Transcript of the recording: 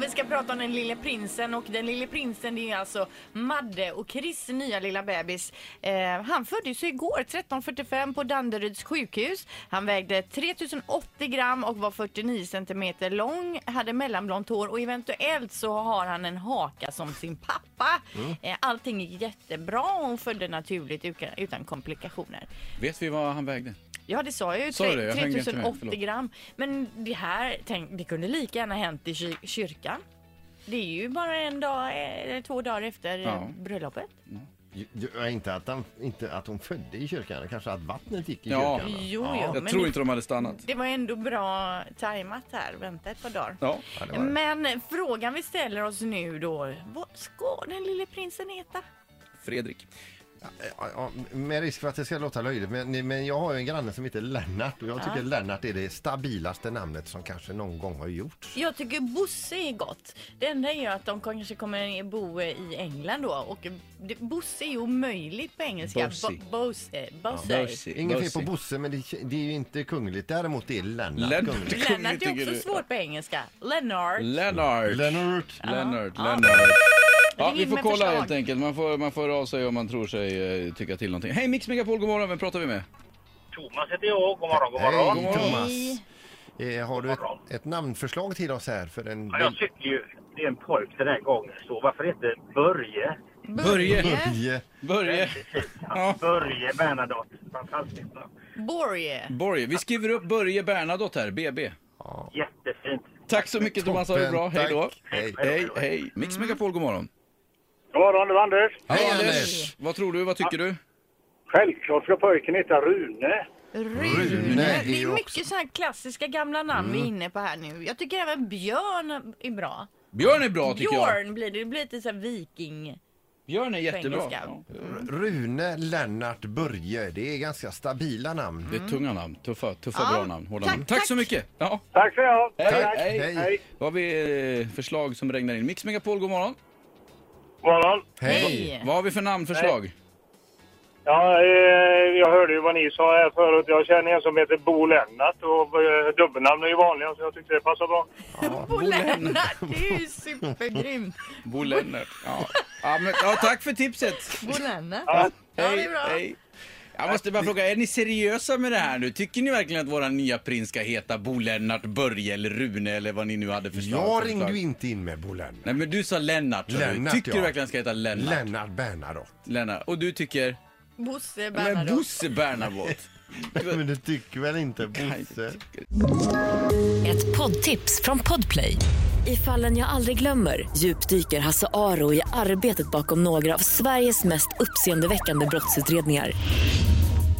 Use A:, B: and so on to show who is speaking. A: Vi ska prata om den lille prinsen och den lille prinsen det är alltså Madde och Chris nya lilla bebis. Eh, han föddes ju igår 13.45 på Danderyds sjukhus. Han vägde 3080 gram och var 49 centimeter lång, hade mellanblont hår och eventuellt så har han en haka som sin pappa. Eh, allting gick jättebra och hon födde naturligt uka- utan komplikationer.
B: Vet vi vad han vägde?
A: Ja, det sa jag ju.
B: Sa
A: Tre-
B: du det? Jag hängde inte med,
A: 3080
B: förlåt.
A: gram. Men det här, tänk, det kunde lika gärna hänt i ky- kyrkan. Det är ju bara en dag, eh, eller två dagar efter eh,
B: Ja.
A: bröllopet.
C: Ju- ju- ja, Inte att, han, inte att hon födde i kyrkan, kanske att vattnet gick i
B: Ja.
C: kyrkan. va?
A: Jo,
C: Ja.
A: jo.
B: Jag
A: Men
B: tror
A: det-
B: inte de hade stannat.
A: Det var ändå bra tajmat här. Vänta ett par dagar.
B: Ja.
C: Ja, det var det.
A: Men frågan vi ställer oss nu då, vad ska den lille prinsen heta?
B: Fredrik.
C: Ja, ja, med risk för att det ska låta löjligt, men, men jag har ju en granne som heter Lennart och jag tycker Lennart är det stabilaste namnet som kanske någon gång har gjorts.
A: Jag tycker Bosse är gott. Det enda är ju att de kanske kommer bo i England då. Och det- Bosse är ju omöjligt på engelska.
B: Bosse.
A: Bo- Bosse. Bosse.
B: Börsi.
C: Inget fel på Bosse, men det, det är ju inte kungligt. Däremot är Lennart,
B: Lennart.
C: kungligt.
A: Lennart
B: Tycker
A: är
B: du?
A: också svårt på engelska. Lennart.
B: Lennart.
C: Lennart.
B: Lennart.
A: Ja.
B: Lennart. Ja,
A: Ring
B: vi får
A: med
B: kolla
A: förslag.
B: helt enkelt. Man får, man får höra av sig om man tror sig eh, tycka till någonting. Hej Mix Megapol, god morgon. Vem pratar vi med?
D: Thomas heter jag. God morgon, god morgon.
C: Hej Thomas! Eh, har du ett,
D: morgon.
C: ett namnförslag till oss här? För en,
D: Ja, jag tycker ju det är en pojk den här gången. Så varför inte Börje?
B: Börje.
C: Börje.
B: Börje. Ja.
D: Börje Bernadotte. Fantastiskt namn.
A: Borje.
B: Borje. Vi skriver upp Börje Bernadotte här, BB.
D: Jättefint.
B: Tack så mycket Thomas, ha det bra.
C: Toppen,
B: Hej då.
C: tack. Hej.
B: Hej, hej. Mix Megapol, god morgon.
D: God morgon, det var Anders.
C: Hej
B: Anders,
C: Anders!
B: Vad tror du? Vad tycker du?
D: Självklart ska pojken heta Rune.
A: Rune.
C: Rune är
A: Det
C: ju
A: är
C: också-
A: mycket så här klassiska gamla namn vi är inne på här nu. Jag tycker även Björn är bra.
B: Björn är bra tycker jag.
A: Björn blir det. Det blir lite så här viking.
B: Björn är jättebra.
A: engelska.
B: Ja.
C: Rune, Lennart, Börje. Det är ganska stabila namn.
B: Det är tunga namn, tuffa, tuffa
A: Ja,
B: bra namn, hårda
A: tack,
B: namn. Tack,
A: tack.
B: så mycket! Ja.
D: Tack ska ni ha.
B: Hej,
D: Tack.
B: hej,
C: hej.
B: Då har vi eh, förslag som regnar in. Mix Megapol, god morgon.
D: God morgon.
A: Hej!
B: Vad har vi för namnförslag?
D: Ja, eh, jag hörde ju vad ni sa här förut. Jag känner en som heter Bo Lennart och eh, dubbelnamn är ju vanliga så jag tyckte det passade bra.
A: Bo Lennart, det är ju supergrymt.
B: Bo Lennart. Ja. Ja, men, ja, tack för tipset!
A: Bo Lennart. Ja, det
B: Hej,
A: är bra.
B: hej. Jag måste bara fråga, är ni seriösa med det här nu? Tycker ni verkligen att våran nya prins ska heta Bo Lennart, Börje eller Rune eller vad ni nu hade för slag-
C: Jag
B: för
C: ringde
B: förslag?
C: ju inte in med Bo Lennart.
B: Nej men du sa Lennart, sa du.
C: Lennart,
B: Tycker du
C: ja.
B: verkligen han ska heta Lennart?
C: Lennart Bernadotte.
B: Lennart. Och du tycker?
A: Bosse
B: Men
A: Bernadotte.
B: Bosse Bernadotte.
C: Men du tycker väl inte
B: Nej,
C: Bosse?
E: Ett poddtips från Podplay. I fallen jag aldrig glömmer djupdyker Hasse Aro i arbetet bakom några av Sveriges mest uppseendeväckande brottsutredningar.